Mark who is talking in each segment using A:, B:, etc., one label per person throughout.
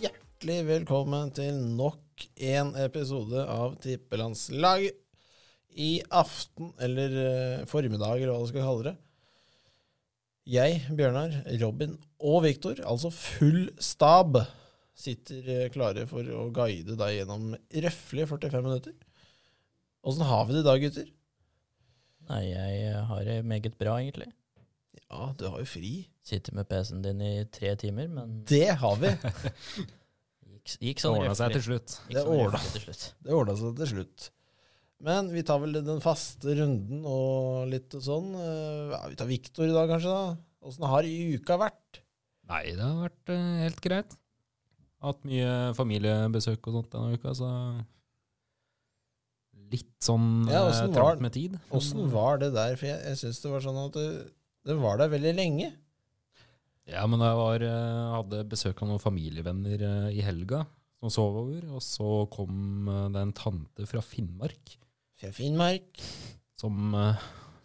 A: Hjertelig velkommen til nok en episode av Tippelandslag. I aften, eller eh, formiddag, eller hva du skal kalle det. Jeg, Bjørnar, Robin og Viktor, altså full stab, sitter eh, klare for å guide deg gjennom røffelig 45 minutter. Åssen har vi det i dag, gutter?
B: Nei, jeg har det meget bra, egentlig.
A: Ja, du har jo fri.
B: Sitter med PC-en din i tre timer, men
A: Det har vi!
B: gikk, gikk
C: Det
B: sånn
C: ordna
B: røftlig.
C: seg til slutt.
B: Gikk
A: Det
B: sånn
A: ordna.
B: røftlig til slutt.
A: Det ordna seg til slutt. Men vi tar vel den faste runden og litt sånn. Eh, Ja, vi tar Viktor i dag, kanskje. da. Åssen har uka vært?
C: Nei, det har vært eh, helt greit. Hatt mye familiebesøk og sånt denne uka, så Litt sånn
A: Ja,
C: eh,
A: åssen var-
C: trangt med tid.
A: Åssen var det der? For jeg, jeg syns det var sånn at det, den var der veldig lenge.
C: Ja, men jeg var, eh, hadde besøk av noen familievenner eh, i helga som sov over, og så kom eh, det en tante fra Finnmark
A: Fra Finnmark.
C: som eh,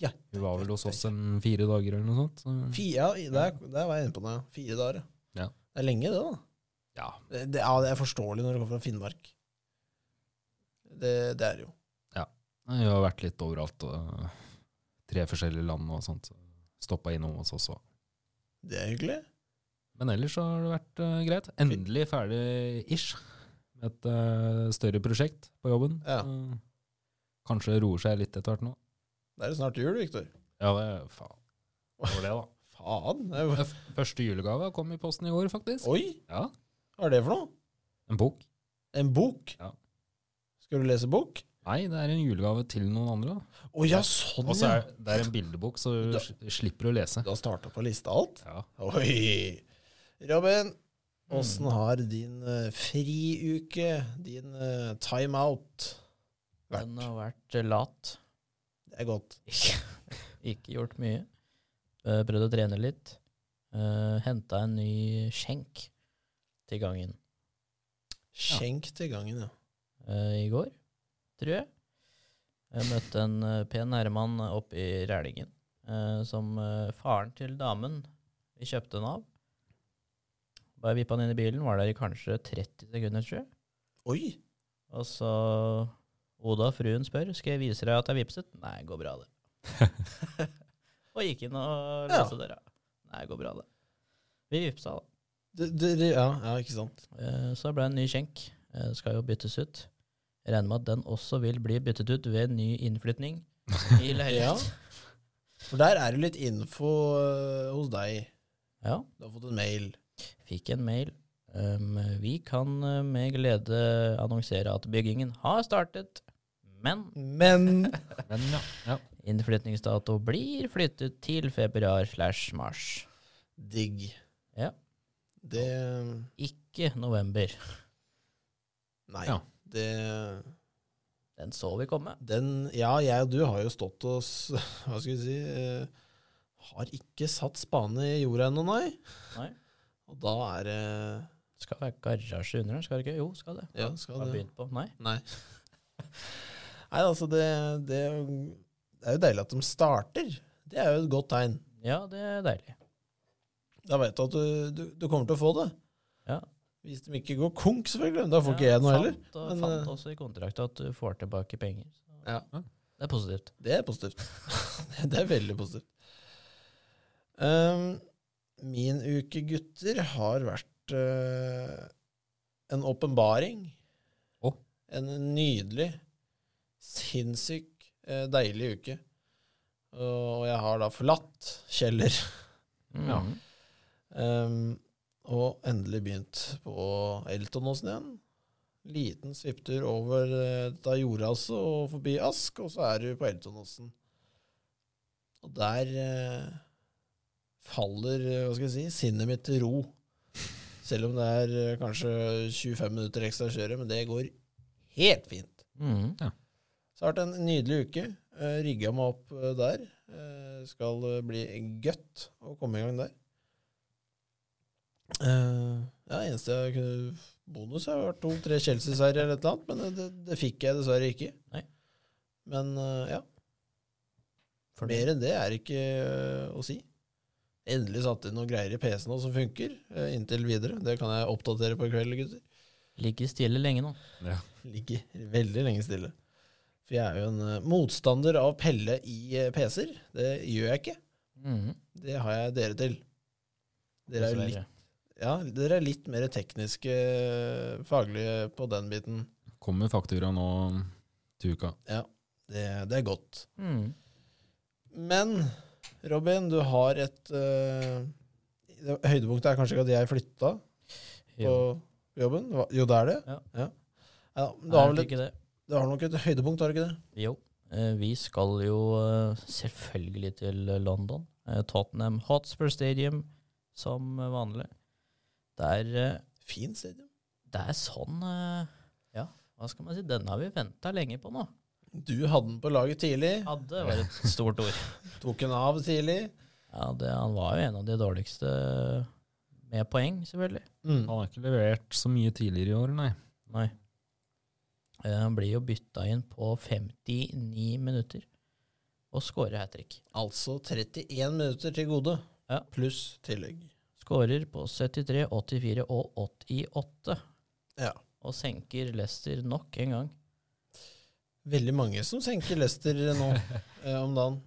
A: Ja.
C: Hun var vel hos oss en fire dager eller noe sånt. Så,
A: Fi- ja, i- der, der var jeg inne på noe. Fire dager.
C: Ja.
A: Det er lenge, det, da.
C: ja.
A: Det, det, ja, det er forståelig når det kommer fra Finnmark. Det, det er det jo.
C: Hun har vært litt overalt. og, eh, tre forskjellige land og sånt. Så Stoppa innom hos oss òg.
A: Det er hyggelig.
C: Men ellers så har det vært eh, greit. Endelig ferdig-ish med et eh, større prosjekt på jobben.
A: Ja.
C: Eh, kanskje roer seg litt etter hvert nå.
A: Da er det snart jul, Viktor.
C: Ja, det faen. Det var det, da.
A: Faen. det er jo-
C: F- Første julegave kom i posten i år, faktisk.
A: Oi,
C: Ja,
A: hva er det for noe?
C: En bok.
A: En bok?
C: Ja.
A: Skal du lese bok?
C: Nei, det er en julegave til noen andre. da.
A: Å ja, sånn
C: Og så
A: ja.
C: er det er en bildebok, så du
A: Da-
C: sl- slipper å lese.
A: Du har starta på lista alt?
C: Ja.
A: Oi! Robin, åssen
C: Mm.
A: har din eh, friuke, din eh, timeout,
B: Den
A: vært?
B: har vært eh, lat.
A: Det er godt.
B: Ikke gjort mye. Eh, Prøvd å trene litt. Uh, Henta en ny skjenk til gangen
A: Skjenk til gangen, ja.
B: eh, i går, tror jeg. Jeg møtte en eh, pen herremann oppe i Rælingen, eh, som eh, faren til damen vi kjøpte den av. Bare vippa den inn i bilen, var der i kanskje 30 sekunder, tror jeg.
A: Oi!
B: Og så Oda, fruen, spør skal jeg vise deg at jeg vipset. Nei, går bra, det. og gikk inn og
A: Ja.
B: låste døra. Nei, går bra, det. Vi vipsa, da.
A: Det, det, det, ja, ja, ikke sant.
B: Eh, Så ble det en ny skjenk. Eh, Skal jo byttes ut. Jeg regner med at den også vil bli byttet ut ved ny innflytning i
A: Ja.
B: leilighet.
A: For der er det litt info eh, hos deg.
B: ja.
A: Du har fått en mail.
B: Fikk en mail. Um, vi kan eh, med glede annonsere at byggingen har startet, men
A: Men
C: Men ja. ja.
B: innflytningsdato blir flyttet til februar slash mars.
A: digg.
B: Ja.
A: Det eh,
B: Ikke november.
A: Nei.
C: Ja.
A: Det
B: Den så vi komme.
A: den, ja, jeg og du har jo stått oss Hva skal vi si eh, Har ikke satt spane i jorda ennå, nei.
B: Nei.
A: Og da er det
B: Skal være garasje under den, skal det ikke? Jo, skal det.
A: Ja, skal
B: Har
A: det
B: begynt på. Nei.
A: Nei. Nei, altså, det, det er jo- det er jo deilig at de starter. Det er jo et godt tegn.
B: Ja, det er deilig.
A: Da vet du at du, du, du kommer til å få det.
B: Ja.
A: Hvis de ikke går konk, selvfølgelig. Da får ikke
B: Ja,
A: jeg noe heller.
B: Fant, og,
A: men,
B: fant
A: eh,
B: også i kontrakten at du får tilbake penger. Så
A: Ja.
B: Det er positivt.
A: Det er positivt. det er veldig positivt. Ehm, min uke, gutter, har vært eh, en åpenbaring.
C: Å.
A: En nydelig, sinnssyk, eh, deilig uke. Og jeg har da forlatt Kjeller
B: Mm.
C: Ja.
A: ehm, og endelig begynt på Eltonåsen igjen. Liten svipptur over eh, da jordraset og forbi Ask, og så er du på Eltonåsen. Og der eh, faller eh, hva skal jeg si, sinnet mitt til ro. Selv om det er eh, kanskje 25 minutter ekstra å kjøre, men det går helt fint.
B: Mm.
A: Så har det vært en nydelig uke. Uh, Rigga meg opp eh, der. Eh, skal eh, bli godt å komme i gang der. Eh, ja, eneste jeg kunne bonus har vært to-tre Chelsea-seier eller et eller annet, men det, det fikk jeg dessverre ikke.
B: Nei.
A: Men eh, ja,
B: For det-
A: mer enn det er ikke eh, å si. Endelig satt inn noen greier i PC-en også som funker, eh, inntil videre. Det kan jeg oppdatere på kvelden, gutter.
B: Ligger stille lenge nå.
A: Ligger veldig lenge stille. For jeg er jo en eh, motstander av Pelle i eh, PC-er. Det gjør jeg ikke.
B: Mhm.
A: Det har jeg dere til. Dere er jo litt,
B: Dessverre.
A: ja, dere er litt mer tekniske, eh, faglige på den biten.
C: Kommer faktura nå til uka.
A: Det, det er godt.
B: Mhm.
A: Men Robin, du har et eh, det- Høydepunktet er kanskje ikke at jeg flytta på
B: Jo.
A: jobben? Hva- Jo, det er det?
B: Ja.
A: Ja, men du,
B: Er
A: har
B: det
A: vel et,
B: ikke det?
A: du har nok et høydepunkt, har du ikke det?
B: Jo, eh, vi skal jo eh, selvfølgelig til eh, London. Eh, Tottenham Hotspur Stadium, som eh, vanlig. Det er, eh,
A: Fint stadion.
B: det er sånn eh, Ja, hva skal man si? Den har vi venta lenge på nå.
A: Du hadde den på laget tidlig.
B: Hadde var et stort ord.
A: Tok den av tidlig.
B: Ja, det, Han var jo en av de dårligste med poeng, selvfølgelig.
A: Mm.
C: Han har ikke levert så mye tidligere i år, nei.
B: Nei. Eh, Han blir jo bytta inn på 59 minutter og skårer hat trick.
A: Altså 31 minutter til gode,
B: Ja.
A: pluss tillegg.
B: Skårer på 73, 84 og 88.
A: Ja.
B: og senker Leicester nok en gang.
A: Veldig mange som senker Lester nå eh, om dagen.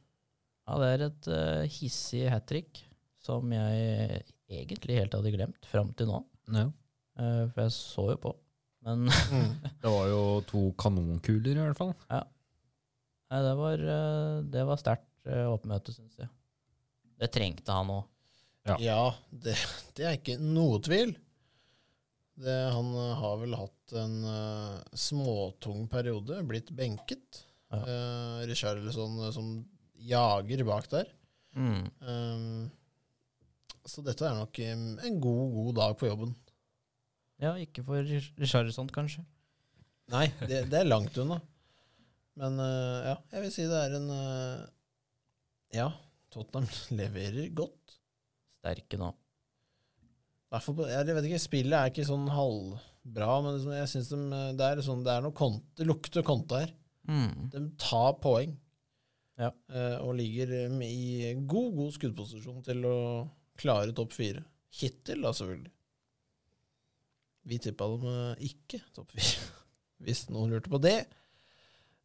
B: Ja, det er et eh, hissig hat trick som jeg egentlig helt hadde glemt fram til nå,
C: Ja.
B: eh, for jeg så jo på. Men
C: Det var jo to kanonkuler, i hvert fall.
B: nei, det var, eh, det var sterkt eh, oppmøte, syns jeg. Det trengte han òg.
A: Ja, det, det er ikke noe tvil. Det, han eh, har vel hatt en eh, småtung periode, blitt benket.
B: Ja.
A: Eh, Richarlison eh, som jager bak der. Um, så dette er nok eh, en god, god dag på jobben.
B: Ja, ikke for Rich- Richarlison, kanskje.
A: Nei, det, det er langt unna. Men eh, ja, jeg vil si det er en eh, Ja, Tottenham leverer godt.
B: Sterke nå.
A: I hvert fall på- Jeg vet ikke, spillet er ikke sånn halvbra, men liksom, jeg synes de, eh, det er, sånn, det er noe kont, det lukter konta her. De tar poeng.
B: Ja.
A: Eh, og ligger eh, med i god, god skuddposisjon til å klare topp fire. Hittil, da, selvfølgelig. Vi tippa dem eh, ikke topp fire, hvis noen lurte på det.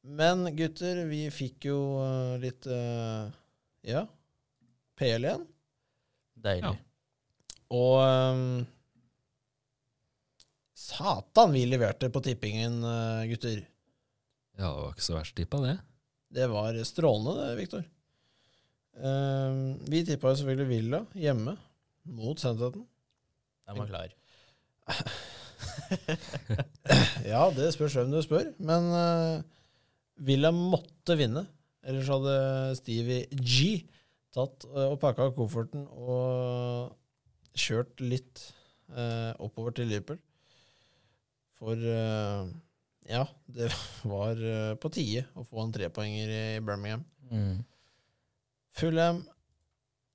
A: Men gutter, vi fikk jo eh, litt eh, ja, PL igjen.
B: Deilig.
C: Ja.
A: Og ehm, Satan, vi leverte på tippingen, eh, gutter.
C: Ja, det var ikke så verst tippa, det.
A: Det var strålende, det, Viktor. Ehm, vi tippa jo selvfølgelig Villa hjemme mot Southampton.
B: Den var klar.
A: Ja, det spørs hvem du spør, men eh, Villa måtte vinne. Ellers hadde Stevie G tatt eh, og pakka kofferten og kjørt litt eh, oppover til Liverpool. For eh, ja, det var eh, på tide å få en trepoenger i Birmingham. Mm. Fulham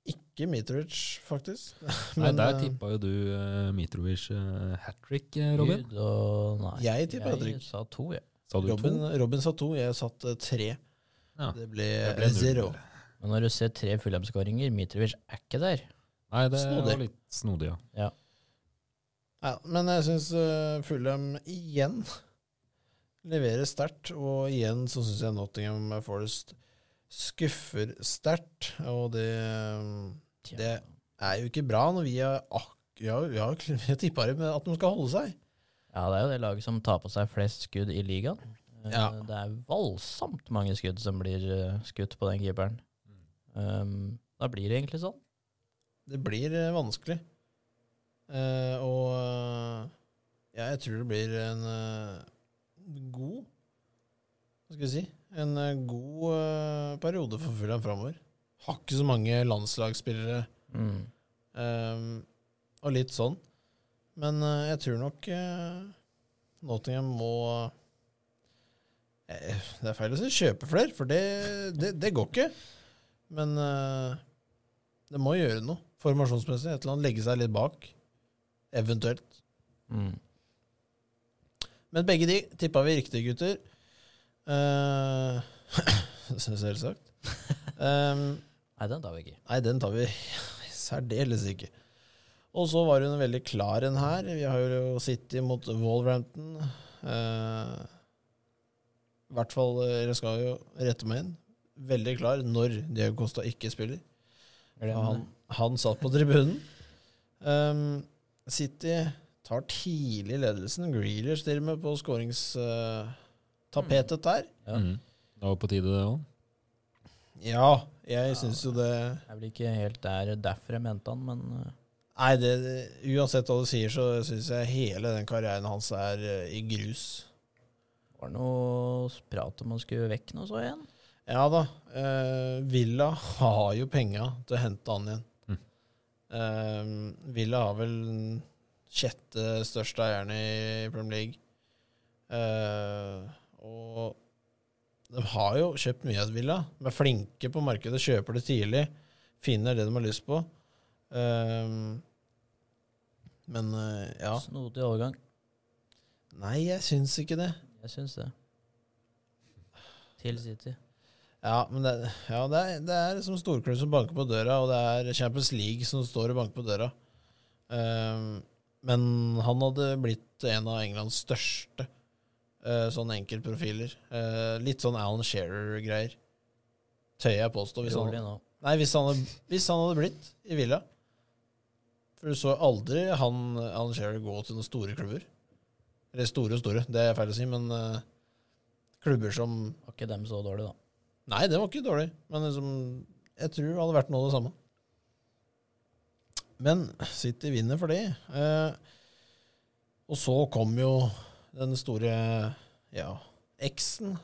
A: Ikke Mitrovic, faktisk.
C: Nei, Der
A: eh,
C: tippa jo du uh, Mitrovic hat trick, eh, Robin.
B: Gud og Nei.
A: Jeg tipper hat
B: Jeg
A: trick.
B: sa to, jeg.
C: Sa du
A: Robin,
C: to?
A: Robin sa to, jeg satt eh, tre.
C: Ja.
A: Det ble,
C: Det ble null.
A: zero.
B: Men når du ser tre Fulham-skåringer, Mitrovic er ikke der.
C: Nei, det
A: Snodig.
C: var litt snodig, ja.
A: Ja, men jeg syns Fulham igjen leverer sterkt, og igjen så syns jeg Nottingham Forest skuffer sterkt, og det eh,
B: Tja.
A: Det- er jo ikke bra når vi har ak ja, ja, vi har tippa dem med at de skal holde seg.
B: Ja, det er jo det laget som tar på seg flest skudd i ligaen. Eh,
A: Ja.
B: Det er voldsomt mange skudd som blir eh, skutt på den keeperen. Um, da blir det egentlig sånn.
A: Det blir eh, vanskelig. Eh, og eh, ja, jeg tror det blir en eh, god Hva skal jeg si? En eh, god eh, periode for Fulham framover. Har ikke så mange landslagsspillere
B: Mm.
A: eh, og litt sånn. Men eh, jeg tror nok eh, Nottingham må eh, Det er feil å si kjøpe flere, for det, det, det går ikke. Men eh, det må gjøre noe formasjonsmessig. Et eller annet legge seg litt bak, eventuelt.
B: Mm.
A: Men begge de tippa vi riktig, gutter. Uh, Selvsagt. Um,
B: Nei, den tar vi ikke.
A: Nei, den tar vi særdeles ikke. Og så var hun veldig klar en her. Vi har jo City mot Wolverhampton. Eh, I hvert fall, eh, dere skal jo rette meg inn. Veldig klar når Diego Costa ikke spiller.
B: Glem
A: Ja, han,
B: det.
A: han satt på tribunen. Ehm, City tar tidlig ledelsen. Grealish til og med på skåringstapetet der.
B: Ja.
C: Mm. Det var på tide, det òg.
A: Ja, jeg syns jo det
B: Det er vel ikke helt der derfor jeg mente han, men eh,
A: Nei, det, uansett hva du sier, så syns jeg hele den karrieren hans er eh, i grus.
B: det var noe prat om han skulle vekk nå, så jeg igjen.
A: Ja da. eh, Villa har jo penga til å hente han igjen.
C: Mm.
A: Eh, Villa har vel den sjette største eieren i Premier League. Eh, og de har jo kjøpt mye av Villa. De er flinke på markedet, kjøper det tidlig. Finner det de har lyst på. Eh, men eh, ja
B: Snodig overgang.
A: Nei, jeg syns ikke det.
B: Jeg syns det. Til City.
A: Ja, men det, ja, det, er, det er som storklubb som banker på døra, og det er Champions League som står og banker på døra. Ehm, men han hadde blitt en av Englands største eh, sånne enkeltprofiler. Eh, litt sånn Alan Shearer-greier, tør jeg påstå. Hvis han,
B: Rolig nå.
A: nei, hvis han, hadde, hvis han hadde blitt i Villa. For du så aldri han, Alan Shearer gå til noen store klubber. Eller store og store, det er feil å si, men eh, klubber som
B: Var ikke dem så dårlig, da.
A: Nei, det var ikke dårlig, men liksom, jeg tror det hadde vært noe av det samme. Men City vinner for det. Eh, og så kom jo den store ja, X-en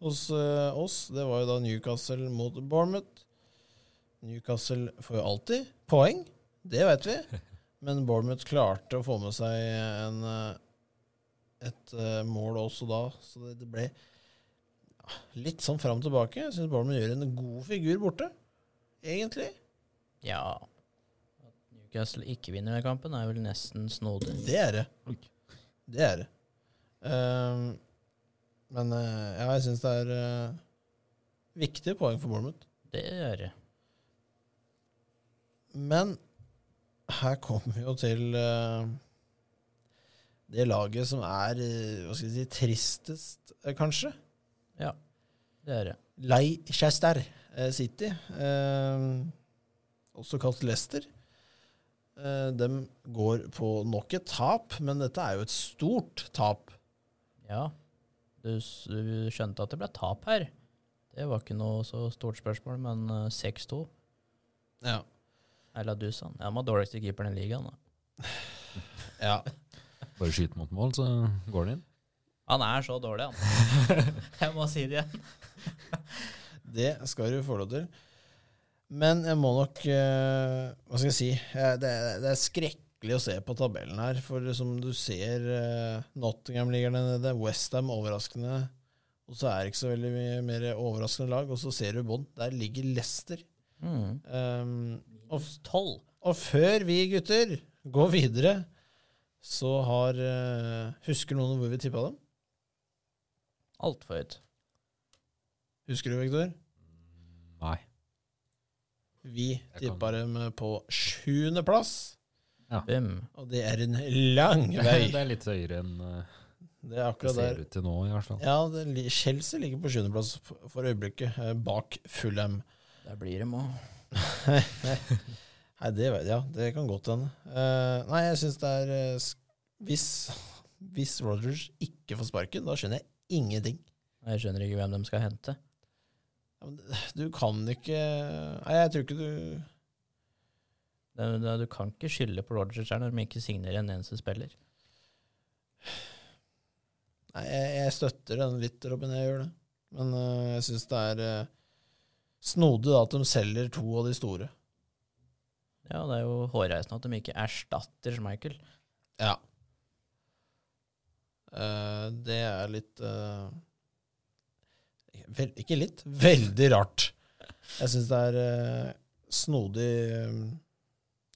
A: hos eh, oss. Det var jo da Newcastle mot Bournemouth. Newcastle får jo alltid poeng, det vet vi. Men Bournemouth klarte å få med seg en, eh, et eh, mål også da, så det- det ble litt sånn fram og tilbake. Jeg syns Bournemouth gjør en god figur borte, egentlig.
B: Ja. At Newcastle ikke vinner den kampen, er vel nesten snodig.
A: Det er det. Det er det. Ehm, men eh, ja, jeg syns det er eh, viktige poeng for Bournemouth.
B: Det gjør det.
A: Men her kommer vi jo til eh, det laget som er eh, hva skal jeg si, tristest, eh, kanskje.
B: Det gjør det.
A: Leicester eh, City, eh, også kalt Leicester. Eh, de går på nok et tap, men dette er jo et stort tap.
B: Ja. Du, s- du skjønte at det ble tap her. Det var ikke noe så stort spørsmål, men eh, 6-2
A: Ja.
B: er Ladusan. Ja, han var dårligste keeperen i ligaen. Da.
C: Bare skyte mot mål, så går den inn.
B: Han er så dårlig, han. Jeg må si det igjen.
A: Det skal du få lov til. Men jeg må nok eh, Hva skal jeg si? Eh, Det er, det er skrekkelig å se på tabellen her, for som du ser, eh, Nottingham ligger der nede, Westham overraskende, og så er det ikke så veldig mye mer overraskende lag, og så ser du bånn. Der ligger Leicester.
B: Mm.
A: Um, og, f-
B: 12.
A: og før vi gutter går videre, så har eh, Husker noen hvor vi tippa dem?
B: Altfor høyt.
A: Husker du, Vektor?
C: Nei.
A: Vi
C: kan.
A: tippa dem eh, på sjuendeplass,
B: Bum.
A: og det er en lang vei.
C: Det er litt høyere enn eh,
A: Det er
C: det
A: akkurat
C: ser
A: der.
C: ut til nå, i hvert fall.
A: Ja, det, li- Chelsea ligger på sjuendeplass f- for øyeblikket, eh, bak Fulham.
B: Der blir det må.
A: Nei, det, vet- ja, det kan godt hende. Eh, nei, jeg syns det er eh, sk- hvis, hvis Rogers ikke får sparken, da skjønner jeg ingenting.
B: Jeg skjønner ikke hvem de skal hente.
A: Ja, men det- Du kan ikke Nei, jeg tror ikke du
B: Det, det, du kan ikke skylde på Rogers her når de ikke signerer en eneste spiller.
A: Nei, jeg, jeg støtter den litt, Robin. Jeg gjør det. Men øh, jeg syns det er øh, snodig da, at de selger to av de store.
B: Ja, det er jo hårreisende at de ikke erstatter Schmeichel.
A: Ja. Eh, det er litt eh, vel, Ikke litt. Veldig rart. Jeg syns det er eh, snodig eh,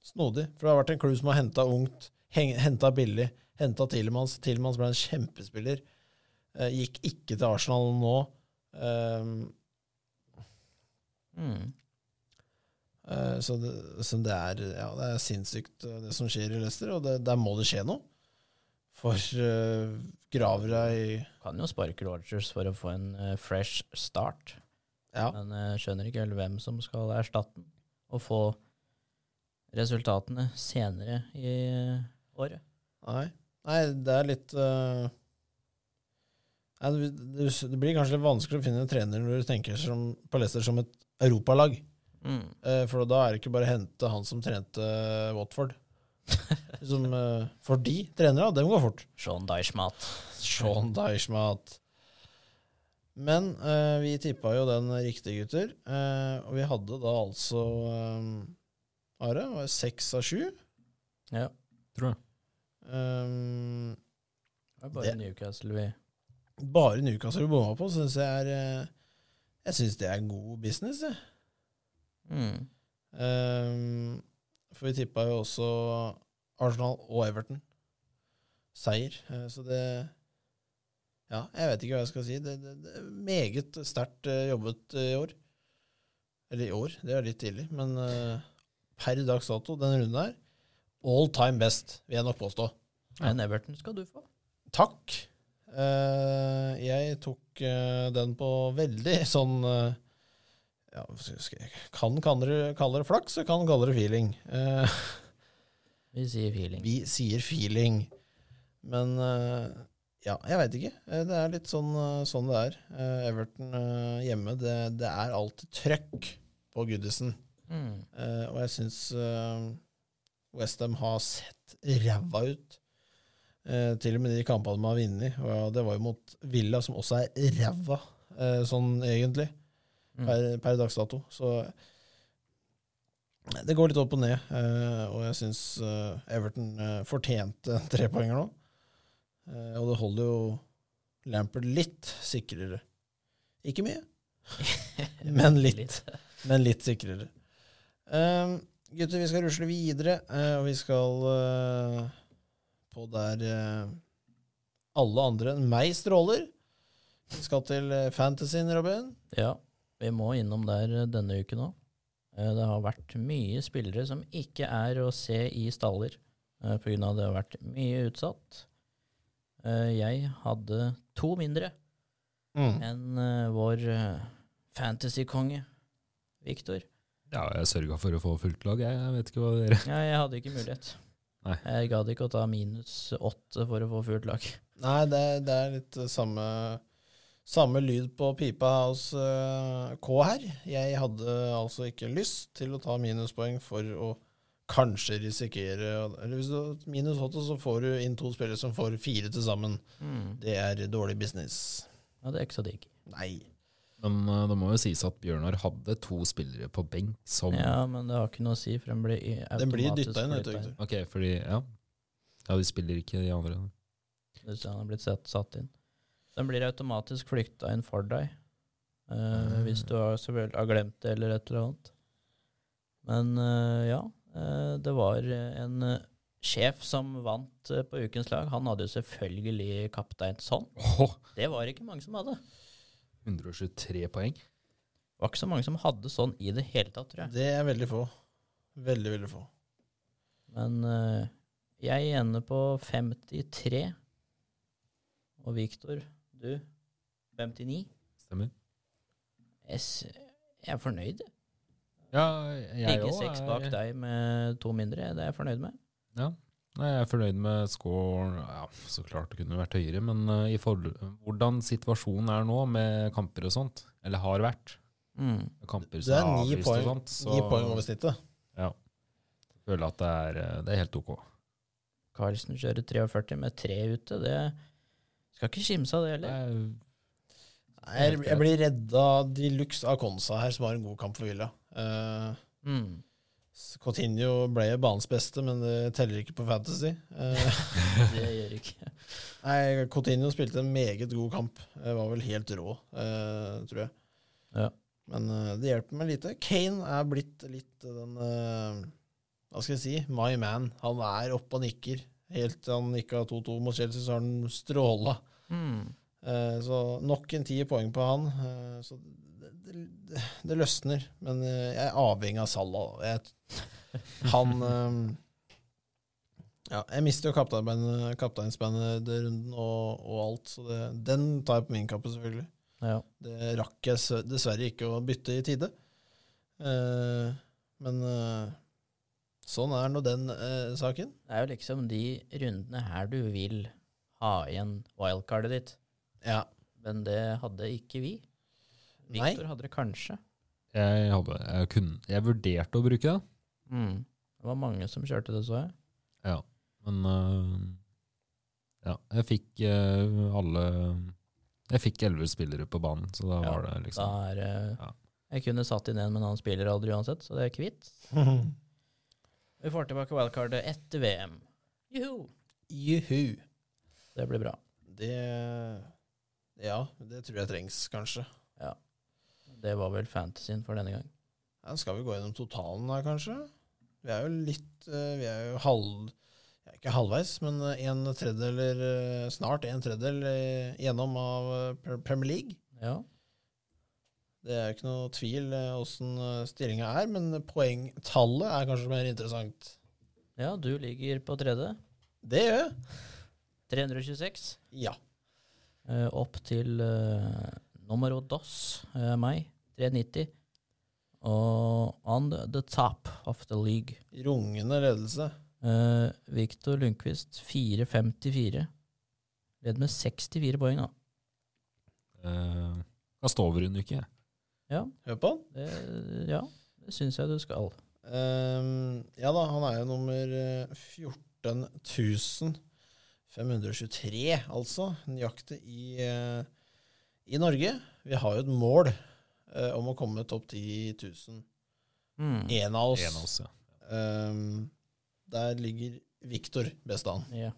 A: Snodig. For det har vært en klubb som har henta ungt, henta billig, henta Tilemans. Tilemans ble en kjempespiller. Eh, gikk ikke til Arsenal nå. Eh,
B: Hmm. Mm.
A: Eh, Så det, så det, er, ja, det er sinnssykt eh, det som skjer i Leicester, og det, der må det skje noe. For uh, Gravra i
B: Kan jo sparke Rogers for å få en eh, fresh start,
A: Ja,
B: men jeg skjønner ikke helt hvem som skal erstatte den, og få resultatene senere i eh, året.
A: nei. Nei, det er litt eh, nei, det, det, det blir kanskje litt vanskelig å finne en trener når du tenker som, på Leicester som et europalag.
B: Mm.
A: Eh, For da er det ikke bare å hente han som trente Watford. Som, eh, for de trenere, dem går fort.
B: Sean Deichmat.
A: Sean Deichmat. Men eh, vi tippa jo den riktig, gutter. Eh, og vi hadde da altså eh, Are, var det seks av sju?
B: Ja.
C: tror jeg.
A: Eh,
B: Det er bare
A: Det-
B: Newcastle vi
A: bare Newcastle vi bomma på, syns jeg er eh, Jeg syns det er god business, jeg.
B: mm.
A: Eh, for vi tippa jo også Arsenal og Everton. Seier. Eh, så det Ja, jeg vet ikke hva jeg skal si. Det, det, det er meget sterkt eh, jobbet eh, i år. Eller i år, det er litt tidlig, men eh, per dags dato, den runden her, all time best, vil jeg nok påstå.
C: Ja.
B: En Everton skal du få.
A: Takk. Eh, jeg tok eh, den på veldig sånn eh, ja, hva skal jeg- skal jeg Kan kalle det, kalle det flaks, og kan kalle det feeling. Eh,
B: Vi sier feeling.
A: vi sier feeling, men eh, ja, jeg veit ikke. Eh, det er litt sånn, eh, sånn det er. Eh, Everton eh, hjemme, det, det er alltid trøkk på Goodison.
B: Mm.
A: Eh, og jeg syns uh, Westham har sett ræva ut. Eh, til og med de kampene de har vunnet. Og ja, det var jo mot Villa, som også er ræva, eh, sånn egentlig,
B: Mm.
A: per, per dags dato. Så det går litt opp og ned. eh, og jeg syns Everton eh, fortjente en trepoenger nå. Eh, og det holder jo Lampard litt sikrere. Ikke mye,
B: Hmm.
A: men litt. men litt sikrere. Ehm, gutter, vi skal rusle videre, eh, og vi skal eh, på der eh, alle andre enn meg stråler. Vi skal til eh, fantasyen, Robin.
B: Ja, vi må innom der eh, denne uken òg. Det har vært mye spillere som ikke er å se i staller eh, på grunn av det har vært mye utsatt. Eh, Jeg hadde to mindre enn eh, vår eh, fantasykonge Viktor.
C: Ja, jeg sørga for å få fullt lag, jeg. Jeg vet ikke hva dere
B: Ja, jeg hadde ikke mulighet.
C: Nei.
B: Jeg gadd ikke å ta minus åtte for å få fullt lag.
A: Nei, det, er- det er litt eh, samme, samme lyd på pipa hos eh, K her. Jeg hadde altså ikke lyst til å ta minuspoeng for å kanskje risikere Eller hvis du har minus åtte, så får du inn to spillere som får fire til sammen.
B: Mm.
A: Det er dårlig business.
B: Ja, det er ikke så digg.
A: Nei.
C: Men eh, det må jo sies at Bjørnar hadde to spillere på benk som
B: Ja, men det har ikke noe å si, for den blir i- automatisk
A: Den blir dytta inn, vet
B: flyttet
A: du.
C: Ok, fordi Ja. Ja, de spiller ikke de andre.
B: Hvis han har blitt sett, satt inn. Den blir automatisk flykta inn for deg. eh, Hvis du har, selvfølgelig har glemt det, eller et eller annet. Men eh, ja, eh, det var eh, en eh, sjef som vant eh, på ukens lag. Han hadde jo selvfølgelig kaptein sånn.
C: Åh,
B: Det var ikke mange som hadde.
C: 123 poeng.
B: Det var ikke så mange som hadde sånn i det hele tatt, tror jeg.
A: Det er veldig få. Veldig, veldig få.
B: Men eh, jeg ender på 53. Og Viktor, du 59.
C: Stemmer.
B: Jeg s- jeg er fornøyd.
C: Ja, jeg
B: Ligge
C: òg
B: seks bak
C: er
B: deg med to mindre, det er jeg fornøyd med.
C: Nei, jeg er fornøyd med scoren. Ja, så klart det kunne vært høyere, men eh, i forhold, hvordan situasjonen er nå med kamper og sånt, eller har vært kamper
A: Det
C: som
A: er
C: er
A: ni
C: avlyst
A: poeng-
C: og sånt, så
A: Ni poeng over snittet.
C: føler jeg at det er, eh, det er helt ok.
B: Carlsen kjører 43 med tre ute, det skal ikke kimse av det
C: Det
B: heller.
C: er,
A: Nei, Jeg, jeg blir redda de luxe av Konsa her, som har en god kamp for Villa. Uh,
B: Mm.
A: Cotinho ble banens beste, men det teller ikke på Fantasy. Eh,
B: Det gjør ikke
A: nei, Cotinho spilte en meget god kamp. Eh, var vel helt rå, eh, tror jeg.
B: Ja.
A: Men eh, det hjelper meg lite. Kane er blitt litt den eh, Hva skal jeg si? My man. Han er oppe og nikker. Helt til han nikka 2-2 mot Chelsea, så har han stråla.
B: mm.
A: Eh, Så nok en ti poeng på han. Eh, Så det, det, det løsner, men eh, jeg er avhengig av Salah. da. Jeg, han eh, Ja, jeg mister jo kapteinsbandet kapteinsbandet den runden og, og alt, så det, den tar jeg på min kappe, selvfølgelig.
B: Ja.
A: Det rakk jeg s- dessverre ikke å bytte i tide. Eh, men eh, sånn er nå den eh, saken.
B: Det er jo liksom de rundene her du vil ha igjen wildcardet ditt,
A: Ja.
B: men det hadde ikke vi.
A: Nei.
B: Victor hadde det kanskje.
C: Jeg, hadde, jeg, kunne, jeg vurderte å bruke det,
B: Mm. Det var mange som kjørte det, så jeg.
C: Ja, men eh, ja, jeg fikk eh, alle Jeg fikk elleve spillere på banen, så da
B: Ja,
C: var det
B: Da
C: liksom
B: er, eh,
C: Ja.
B: Jeg kunne satt inn en, men han spiller aldri uansett, så det er kvitt. Vi får tilbake wildcardet etter VM. Juhu!
A: Juhu.
B: Det blir bra.
A: Det Ja, det tror jeg trengs, kanskje.
B: Det var vel fantasyen for denne gang.
A: Ja, skal vi gå gjennom totalen her, kanskje? Vi er jo litt eh, Vi er jo halv... ja, Ikke halvveis, men eh, en tredjedel, eller, eh, snart en tredjedel eh, gjennom av eh, Pre- Premier League.
B: Ja.
A: Det er jo ikke noe tvil eh, åssen eh, stillinga er, men poengtallet er kanskje mer interessant.
B: ja, du ligger på tredje.
A: Det gjør jeg.
B: 326.
A: Ja.
B: Eh, opp til eh, numero dos, eh, meg, 390. Og on the, the top of the league,
A: Rungende ledelse.
B: eh, Viktor Lundqvist, 454. Ledd med 64 poeng, da.
C: eh, Kan stå over en uke. jeg.
A: Hør på han.
B: Det, ja, det syns jeg du skal.
A: Ehm, ja da, han er jo nummer eh, 14.523, altså. Nøyaktig i, eh, i Norge. Vi har jo et mål eh, om å komme topp 10 000.
B: Mm.
A: En av oss.
C: En av oss, ja.
A: Ehm, der ligger Viktor best an.
B: Ja.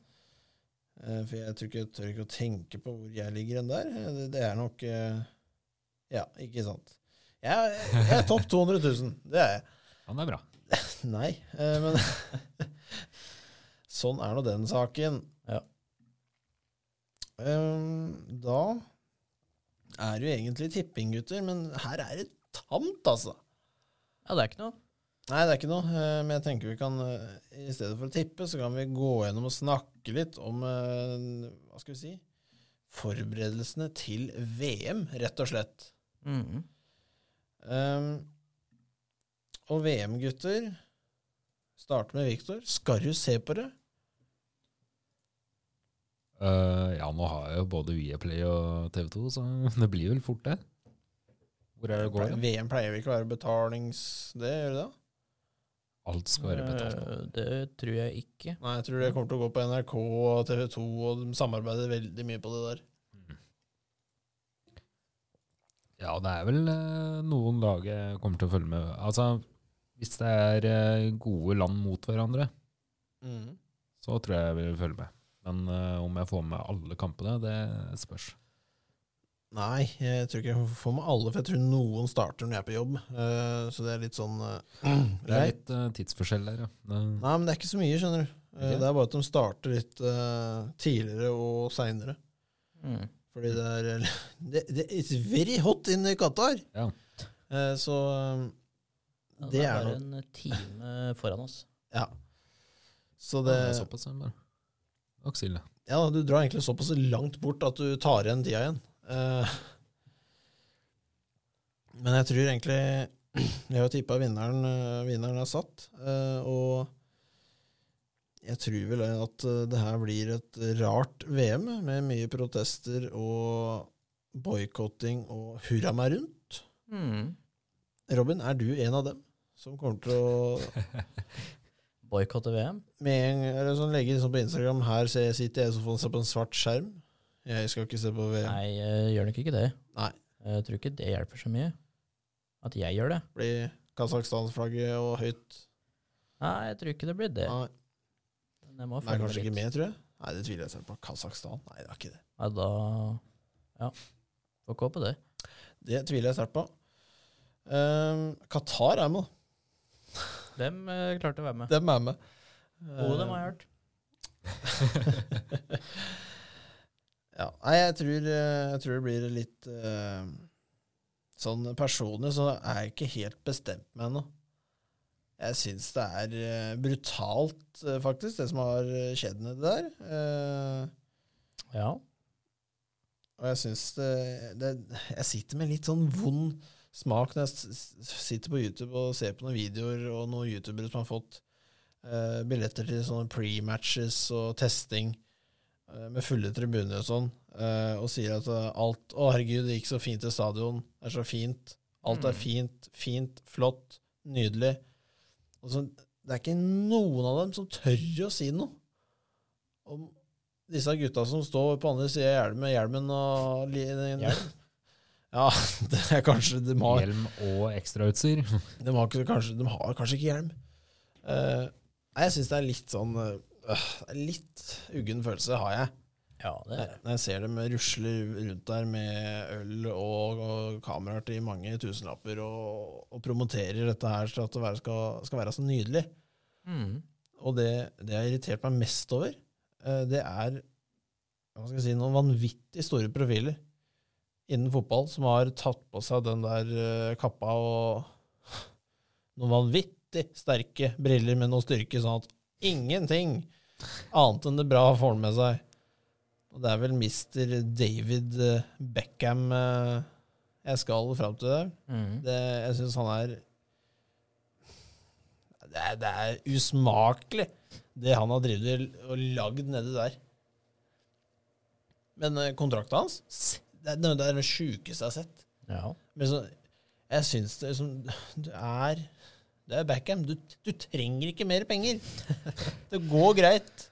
A: Eh, for jeg tror ikke, jeg tør ikke å tenke på hvor jeg ligger enn der. Eh, Det, det er nok eh, Ja, ikke sant. Jeg, er- jeg er topp 200 000. Det er jeg.
C: Han er bra.
A: Nei, eh, men sånn er nå den saken.
B: Ja.
A: Ehm, da er det jo egentlig tipping, gutter, men her er det tamt, altså.
B: ja, det er ikke noe.
A: Nei, det er ikke noe, eh, men jeg tenker vi kan eh, i stedet for å tippe, så kan vi gå gjennom og snakke litt om eh, Hva skal vi si? Forberedelsene til VM, rett og slett.
B: Mm.
A: Ehm, og VM-gutter Starter med Viktor. Skal du se på det?
C: Eh, ja, nå har jeg jo både Viaplay og TV2, så det blir vel fort det. Hvor
A: Eh,
C: er det går? da?
A: VM pleier vel ikke å være betalings... Det gjør det da?
C: Alt skal være betalt.
B: Eh, det tror jeg ikke.
A: Nei, jeg tror det kommer til å gå på NRK og TV 2, og de samarbeider veldig mye på det der.
C: Ja, det er vel eh, noen lag jeg kommer til å følge med. Altså, hvis det er eh, gode land mot hverandre,
A: Mm.
C: så tror jeg jeg vil følge med. Men eh, om jeg får med alle kampene, det spørs.
A: Nei, jeg tror ikke jeg får med alle, for jeg tror noen starter når jeg er på jobb. Eh, så det er litt sånn eh,
C: Det er litt eh, tidsforskjell der, ja. Det,
A: Nei, men det er ikke så mye, skjønner du. Eh,
C: Ikke?
A: Det er bare at de starter litt eh, tidligere og seinere.
B: Mm.
A: Fordi det er eh, det, det, It's very hot in Qatar!
C: Ja.
A: Eh, så eh,
B: Ja,
A: det er
B: bare
A: noe.
B: en time foran oss.
A: Så
C: det
A: det
C: er såpass, ja, bare. Aksille.
A: Ja, da, du drar egentlig såpass langt bort at du tar igjen tida igjen. Eh, men jeg tror egentlig Jeg har tippa vinneren, eh, vinneren er satt. eh, og jeg tror vel at eh, det her blir et rart VM med mye protester og boikotting og hurra meg rundt.
B: Mm.
A: Robin, er du en av dem som kommer til å
B: Boikotte VM?
A: med en, eller sånn, legge liksom på Instagram Her ser jeg- sitter jeg i sofaen og ser på en svart skjerm. Jeg skal ikke se på VM.
B: Nei, eh, gjør nok ikke det.
A: Nei.
B: Jeg tror ikke det hjelper så mye. At jeg gjør det.
A: blir Kasakhstan-flagget og høyt.
B: Nei, jeg tror ikke det blir det.
A: Nei,
B: Men jeg må
A: det er
B: følge
A: kanskje
B: litt.
A: ikke med, tror jeg. Nei, det tviler jeg selv på. Kasakhstan? Nei, det er ikke det.
B: Nei, da Ja. Får ikke håpe det.
A: Det tviler jeg sterkt på. Um, Qatar er med.
B: Dem eh, klarte å være med.
A: Dem er med.
B: Gode dem har jeg hørt.
A: ja, nei, jeg tror, eh, jeg tror det blir litt uh, eh, sånn personlig så er jeg ikke helt bestemt meg ennå. Jeg syns det er eh, brutalt, eh, faktisk, det som har eh, skjedd nedi der. Eh,
B: Ja.
A: og jeg syns det, det Jeg sitter med litt sånn vond smak når jeg s- s- sitter på YouTube og ser på noen videoer og noen youtubere som har fått eh, billetter til sånne pre-matches og testing eh, med fulle tribuner og sånn, eh, og sier at eh, alt Å, herregud, det gikk så fint til stadion. Det er så fint. Alt er
B: Mm.
A: fint. Fint. Flott. Nydelig. Og så, det er ikke noen av dem som tør å si noe om disse gutta som står på andre sida av hjelmen, med hjelmen og li-
B: Hjelm?
A: Ja, det er kanskje de har,
C: Hjelm og ekstrautstyr.
A: de har, ikke- kanskje, de har kanskje ikke hjelm. Eh, Nei, jeg syns det er litt sånn eh, øh, Litt uggen følelse har jeg eh,
B: ja, det er det.
A: når jeg ser dem rusle rundt der med øl og, og kameraer til mange tusenlapper og, og promoterer dette her til at det være- skal, skal være så nydelig.
B: Mm.
A: Og det, det jeg har irritert meg mest over, eh, det er hva skal jeg si, noen vanvittig store profiler innen fotball som har tatt på seg den der eh, kappa og noen vanvittig sterke briller med noe styrke, sånn at ingenting annet enn det bra får han med seg. Og det er vel Mr. David eh, Beckham eh, jeg skal fram til der.
B: Mm.
A: Det, jeg syns han er det, er det er usmakelig, det han har drevet og lagd nedi der. Men eh, kontrakten hans s- Det er det, er det sjukeste jeg har sett.
B: Ja.
A: Men så, jeg syns det liksom Du er Det er Backham. Du, du trenger ikke mer penger. Det går greit.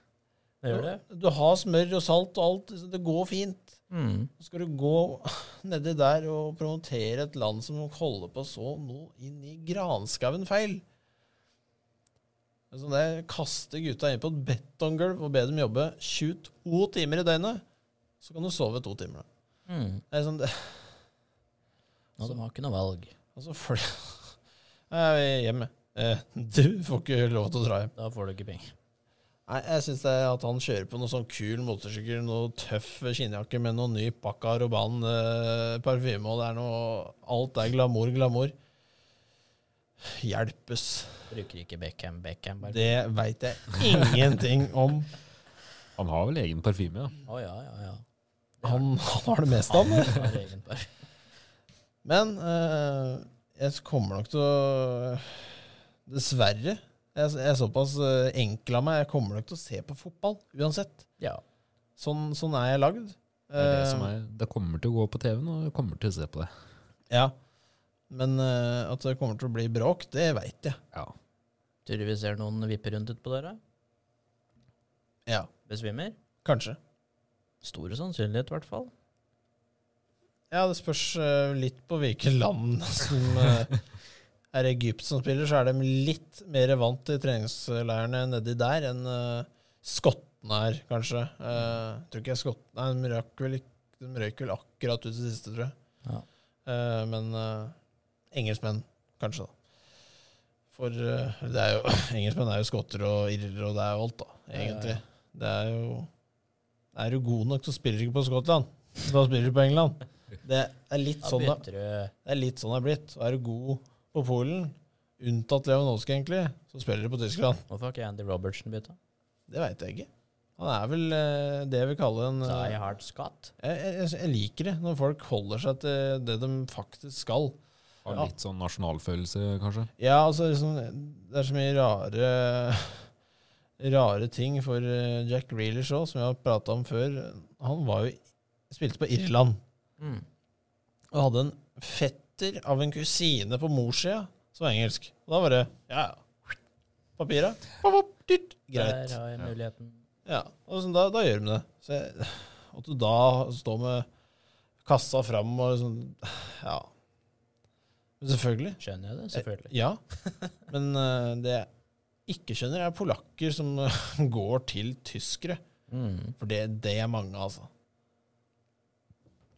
B: Det gjør det.
A: Du, du har smør og salt og alt. så Det går fint.
B: Mm.
A: Så skal du gå nedi der og promotere et land som holder på så noe inn i granskauen feil. Altså det Kaste gutta inn på et betonggulv og be dem jobbe 22 timer i døgnet. Så kan du sove to timer. da.
B: Mm.
A: Det er sånn, det,
B: Og de har ikke noe valg.
A: altså for, jeg er hjemme. Eh, Du får ikke lov til å dra hjem.
B: Da får du ikke penger.
A: Nei, Jeg syns at han kjører på noe sånn kul motorsykkel, noe tøff skinnjakke med noe ny pakka Roban eh, parfyme, og det er noe Alt er glamour, glamour. Hjelpes.
B: Bruker ikke Beckham, Beckham bare.
A: Det veit jeg ingenting om.
C: Han har vel egen parfyme, ja.
B: Å ja, ja, ja.
A: Han, han har det meste, han.
B: Han har egen parfyme.
A: Men eh, jeg kommer nok til å Dessverre. Jeg, jeg er såpass eh, enkel av meg. Jeg kommer nok til å se på fotball uansett.
B: Ja.
A: Sånn, sånn er jeg lagd.
C: Det, er det, som
A: Eh,
C: er, det kommer til å gå på TV-en, og jeg kommer til å se på det.
A: Ja. Men eh, at det kommer til å bli bråk, det veit jeg.
C: Ja.
B: Tror du vi ser noen vippe rundt utpå der, da?
A: Ja,
B: Besvimmer?
A: Kanskje.
B: Store sannsynlighet, i hvert fall.
A: Ja, det spørs eh, litt på hvilke land som eh, er Egypt som spiller, så er de litt mer vant til treningsleirene nedi der enn eh, skottene er, kanskje. Eh, tror ikke jeg skottene Nei, de røyk vel, ikk- de røyk vel akkurat ut i det siste, tror jeg.
B: Ja.
A: Eh, men eh, engelskmenn, kanskje, da. For eh, det er jo, engelskmenn er jo skotter og irrer, og det er jo alt, da, egentlig.
B: Ja, ja,
A: Det er jo Er du god nok, så spiller du ikke på Skottland. Da spiller du på England. Det er litt
B: Da
A: sånn det
B: bytter du
A: det er litt sånn det er blitt. Er du god på Polen, unntatt Lewandowski, egentlig, så spiller du på Tyskland.
B: Hvorfor har ikke Andy Robertson bytta?
A: Det veit jeg ikke. Han er vel eh, det jeg vil kalle en
B: Sa
A: eh,
B: jeg hardt skatt?
A: jeg, jeg, jeg liker det, når folk holder seg til det de faktisk skal.
C: Har
A: Ja.
C: litt sånn nasjonalfølelse, kanskje.
A: Ja, altså liksom, Det er så mye rare Rare ting for eh, Jack Reelers òg, som jeg har prata om før. Han var jo, spilte på Irland.
B: Mm.
A: Og hadde en fetter av en kusine på morssida som var engelsk. Og da var det ja, ja. Papira. Pop, pop, dytt. Greit.
B: Der har jeg muligheten.
A: Ja, og sånn, da, da gjør de det. Så jeg, at du da står med kassa fram og sånn Ja. Men selvfølgelig.
B: Skjønner jeg det, selvfølgelig.
A: Ja. Men eh, det jeg ikke skjønner, er polakker som går til tyskere.
B: Mm.
A: For det, det er mange, altså.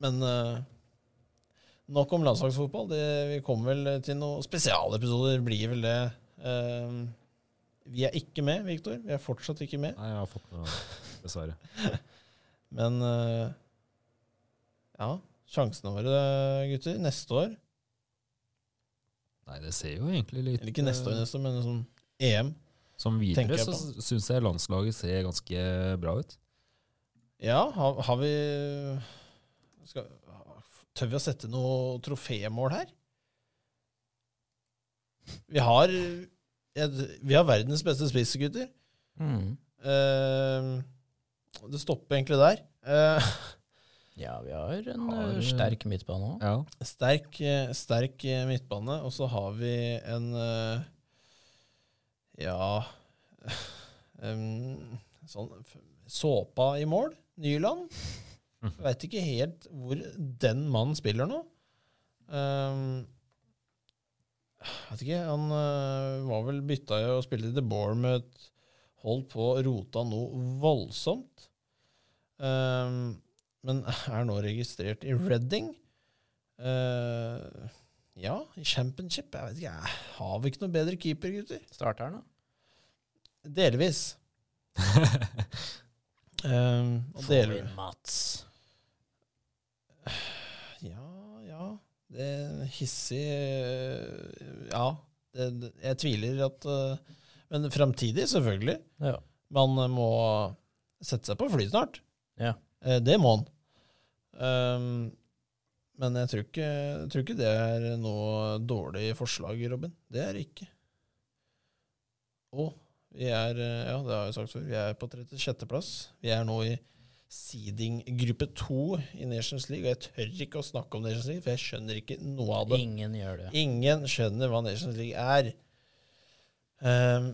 A: Men eh, nok om landslagsfotball. Det, vi kommer vel til noen spesialepisoder, blir vel det. Eh, vi er ikke med, Viktor. Vi er fortsatt ikke med.
C: Nei, jeg har fått med meg det, dessverre.
A: Men eh, ja, sjansene våre, gutter, neste år
C: Nei, det ser jo egentlig litt
A: Eller ikke neste år,
C: eh,
A: neste år, men liksom EM.
C: Som
A: tenker
C: videre
A: jeg
C: så
A: på.
C: syns jeg landslaget ser ganske bra ut.
A: Ja, har, har vi skal, Tør vi å sette noe trofémål her? Vi har, jeg- vi har verdens beste spissegutter.
B: Mm.
A: Eh, det stopper egentlig der. Eh,
B: Ja, vi har en
C: Har,
B: eh,
C: eh,
B: sterk midtbane òg.
C: Ja.
A: sterk, eh, sterk eh, midtbane, og så har vi en eh, Ja em, Sånn f- såpa i mål. Nyland.
C: Mhm.
A: Veit ikke helt hvor den mannen spiller nå. Um, vet ikke, han eh, var vel bytta i og spilte i The Bournemouth. Holdt på å rota noe voldsomt. Ehm, men er nå registrert i Reading. Eh, ja, i Championship. Jeg vet ikke, jeg har vi ikke noe bedre keeper, gutter?
B: Starter han, da?
A: Delvis. Ehm, og
B: Få
A: delvis.
B: inn Mats.
A: Ja, ja. Det er hissig eh, Ja. Det, det, jeg tviler at eh, Men framtidig, selvfølgelig.
B: Ja.
A: Man eh, må sette seg på fly snart.
B: Ja.
A: Eh, Det må man. Ehm, men jeg tror, ikke, jeg tror ikke det er noe dårlig forslag, Robin. Det er det ikke. Og vi er, eh, ja, det har jeg sagt før, vi er på 36.-plass. Vi er nå i seeding gruppe 2 i Nations League, og jeg tør ikke å snakke om Nations League, for jeg skjønner ikke noe av det.
B: Ingen gjør det.
A: Ingen skjønner hva Nations League er. Ehm,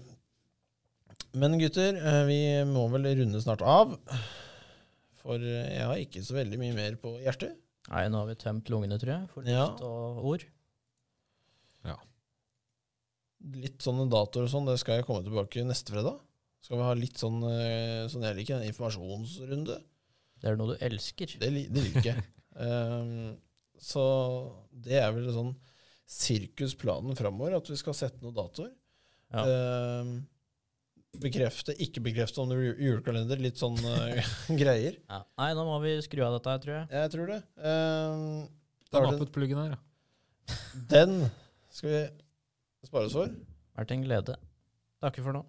A: men gutter, eh, vi må vel runde snart av. For eh, jeg har ikke så veldig mye mer på hjertet.
B: Nei, nå har vi tømt lungene, tror jeg, for
A: Ja.
B: luft og ord.
A: Litt sånne datoer og sånn, det skal jeg komme tilbake neste fredag. Skal vi ha litt sånn, eh, sånn jeg liker, en informasjonsrunde.
B: Det er noe du elsker.
A: Det, li- det liker jeg. Ehm, så det er vel sånn sirkusplanen framover, at vi skal sette noen datoer.
B: Ja.
A: Ehm, bekrefte, ikke bekrefte om det blir ju- julekalender, litt sånn eh, greier.
B: Ja. Nei, nå må vi skru av dette her, tror jeg.
A: Jeg tror det. Ehm, da
C: Da
A: var det
C: nappet pluggen Sånn her, ja.
A: den skal vi spare oss for.
B: vært en glede. Takker for nå.